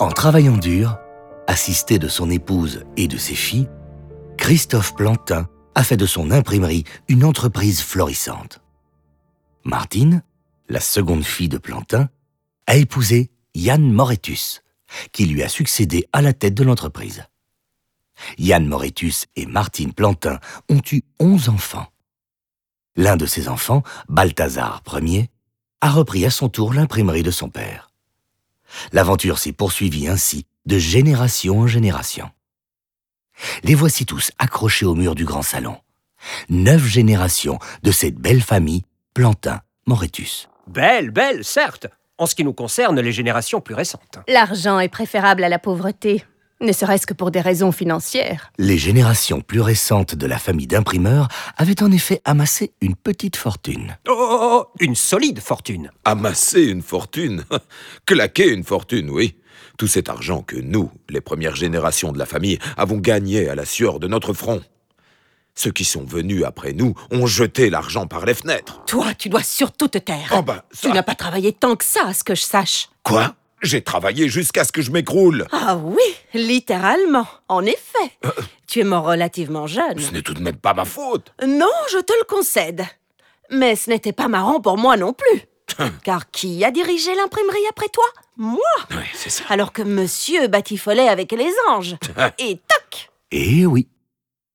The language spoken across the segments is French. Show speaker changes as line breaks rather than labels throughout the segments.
En travaillant dur, assisté de son épouse et de ses filles, Christophe Plantin a fait de son imprimerie une entreprise florissante. Martine, la seconde fille de Plantin, a épousé Yann Moretus, qui lui a succédé à la tête de l'entreprise. Yann Moretus et Martine Plantin ont eu onze enfants. L'un de ses enfants, Balthazar Ier, a repris à son tour l'imprimerie de son père. L'aventure s'est poursuivie ainsi de génération en génération. Les voici tous accrochés au mur du grand salon. Neuf générations de cette belle famille, Plantin, Moretus.
Belle, belle, certes, en ce qui nous concerne les générations plus récentes.
L'argent est préférable à la pauvreté, ne serait-ce que pour des raisons financières.
Les générations plus récentes de la famille d'imprimeurs avaient en effet amassé une petite fortune.
Oh, oh, oh, oh, une solide fortune.
Amasser une fortune Claquer une fortune, oui. Tout cet argent que nous, les premières générations de la famille, avons gagné à la sueur de notre front. Ceux qui sont venus après nous ont jeté l'argent par les fenêtres.
Toi, tu dois surtout te taire.
Oh bah, ça-
Ah, Tu n'as pas travaillé tant que ça, à ce que je sache.
Quoi J'ai travaillé jusqu'à ce que je m'écroule.
Ah oui, littéralement, en effet. Tu es mort relativement jeune.
Euh, Ce n'est tout de même pas ma faute.
Non, je te le concède. Mais ce n'était pas marrant pour moi non plus. Car qui a dirigé l'imprimerie après toi Moi
Ouais, c'est ça.
Alors que monsieur batifolait avec les anges. Et toc
Eh oui,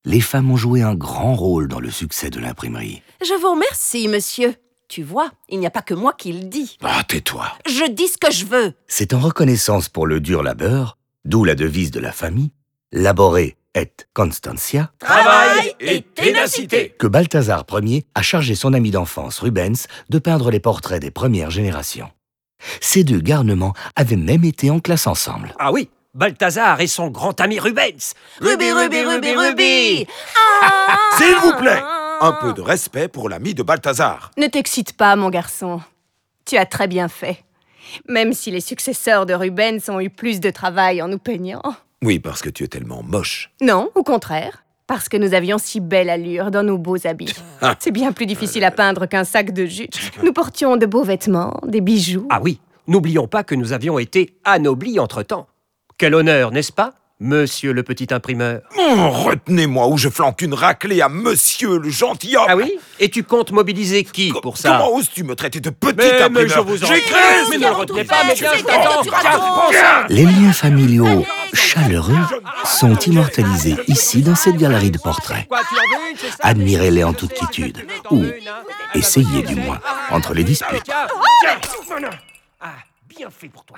les femmes ont joué un grand rôle dans le succès de l'imprimerie.
Je vous remercie, monsieur. Tu vois, il n'y a pas que moi qui le dis.
Ah, tais-toi.
Je dis ce que je veux.
C'est en reconnaissance pour le dur labeur, d'où la devise de la famille, Laborer et Constantia,
Travail et ténacité.
que Balthazar Ier a chargé son ami d'enfance Rubens de peindre les portraits des premières générations. Ces deux garnements avaient même été en classe ensemble.
Ah oui, Balthazar et son grand ami Rubens.
Ruby, Ruby, Ruby, Ruby
S'il vous plaît Un peu de respect pour l'ami de Balthazar.
Ne t'excite pas, mon garçon. Tu as très bien fait. Même si les successeurs de Rubens ont eu plus de travail en nous peignant.
Oui, parce que tu es tellement moche.
Non, au contraire. Parce que nous avions si belle allure dans nos beaux habits. C'est bien plus difficile à peindre qu'un sac de jute. Nous portions de beaux vêtements, des bijoux.
Ah oui, n'oublions pas que nous avions été anoblis entre-temps. Quel honneur, n'est-ce pas, monsieur le petit imprimeur
Oh, Retenez-moi ou je flanque une raclée à monsieur le gentilhomme.
Ah oui Et tu comptes mobiliser qui
Co-
pour ça
Comment oses-tu me traiter de petit
Mais- mais
imprimeur
je vous en
J'ai
prie,
créé
mais
ce
ne le
monde.
retenez pas, mais
Je
bien,
suis
je t'attends.
content. Tiens,
Les liens
Ah,
familiaux chaleureux sont immortalisés ici dans cette galerie de portraits.
Quoi, tu en veux une, c'est ça
Admirez-les en toute quiétude,
T'en
ou
veux une, hein
essayez du moins, entre les disputes.
Tiens, tiens. Ah, bien fait pour toi.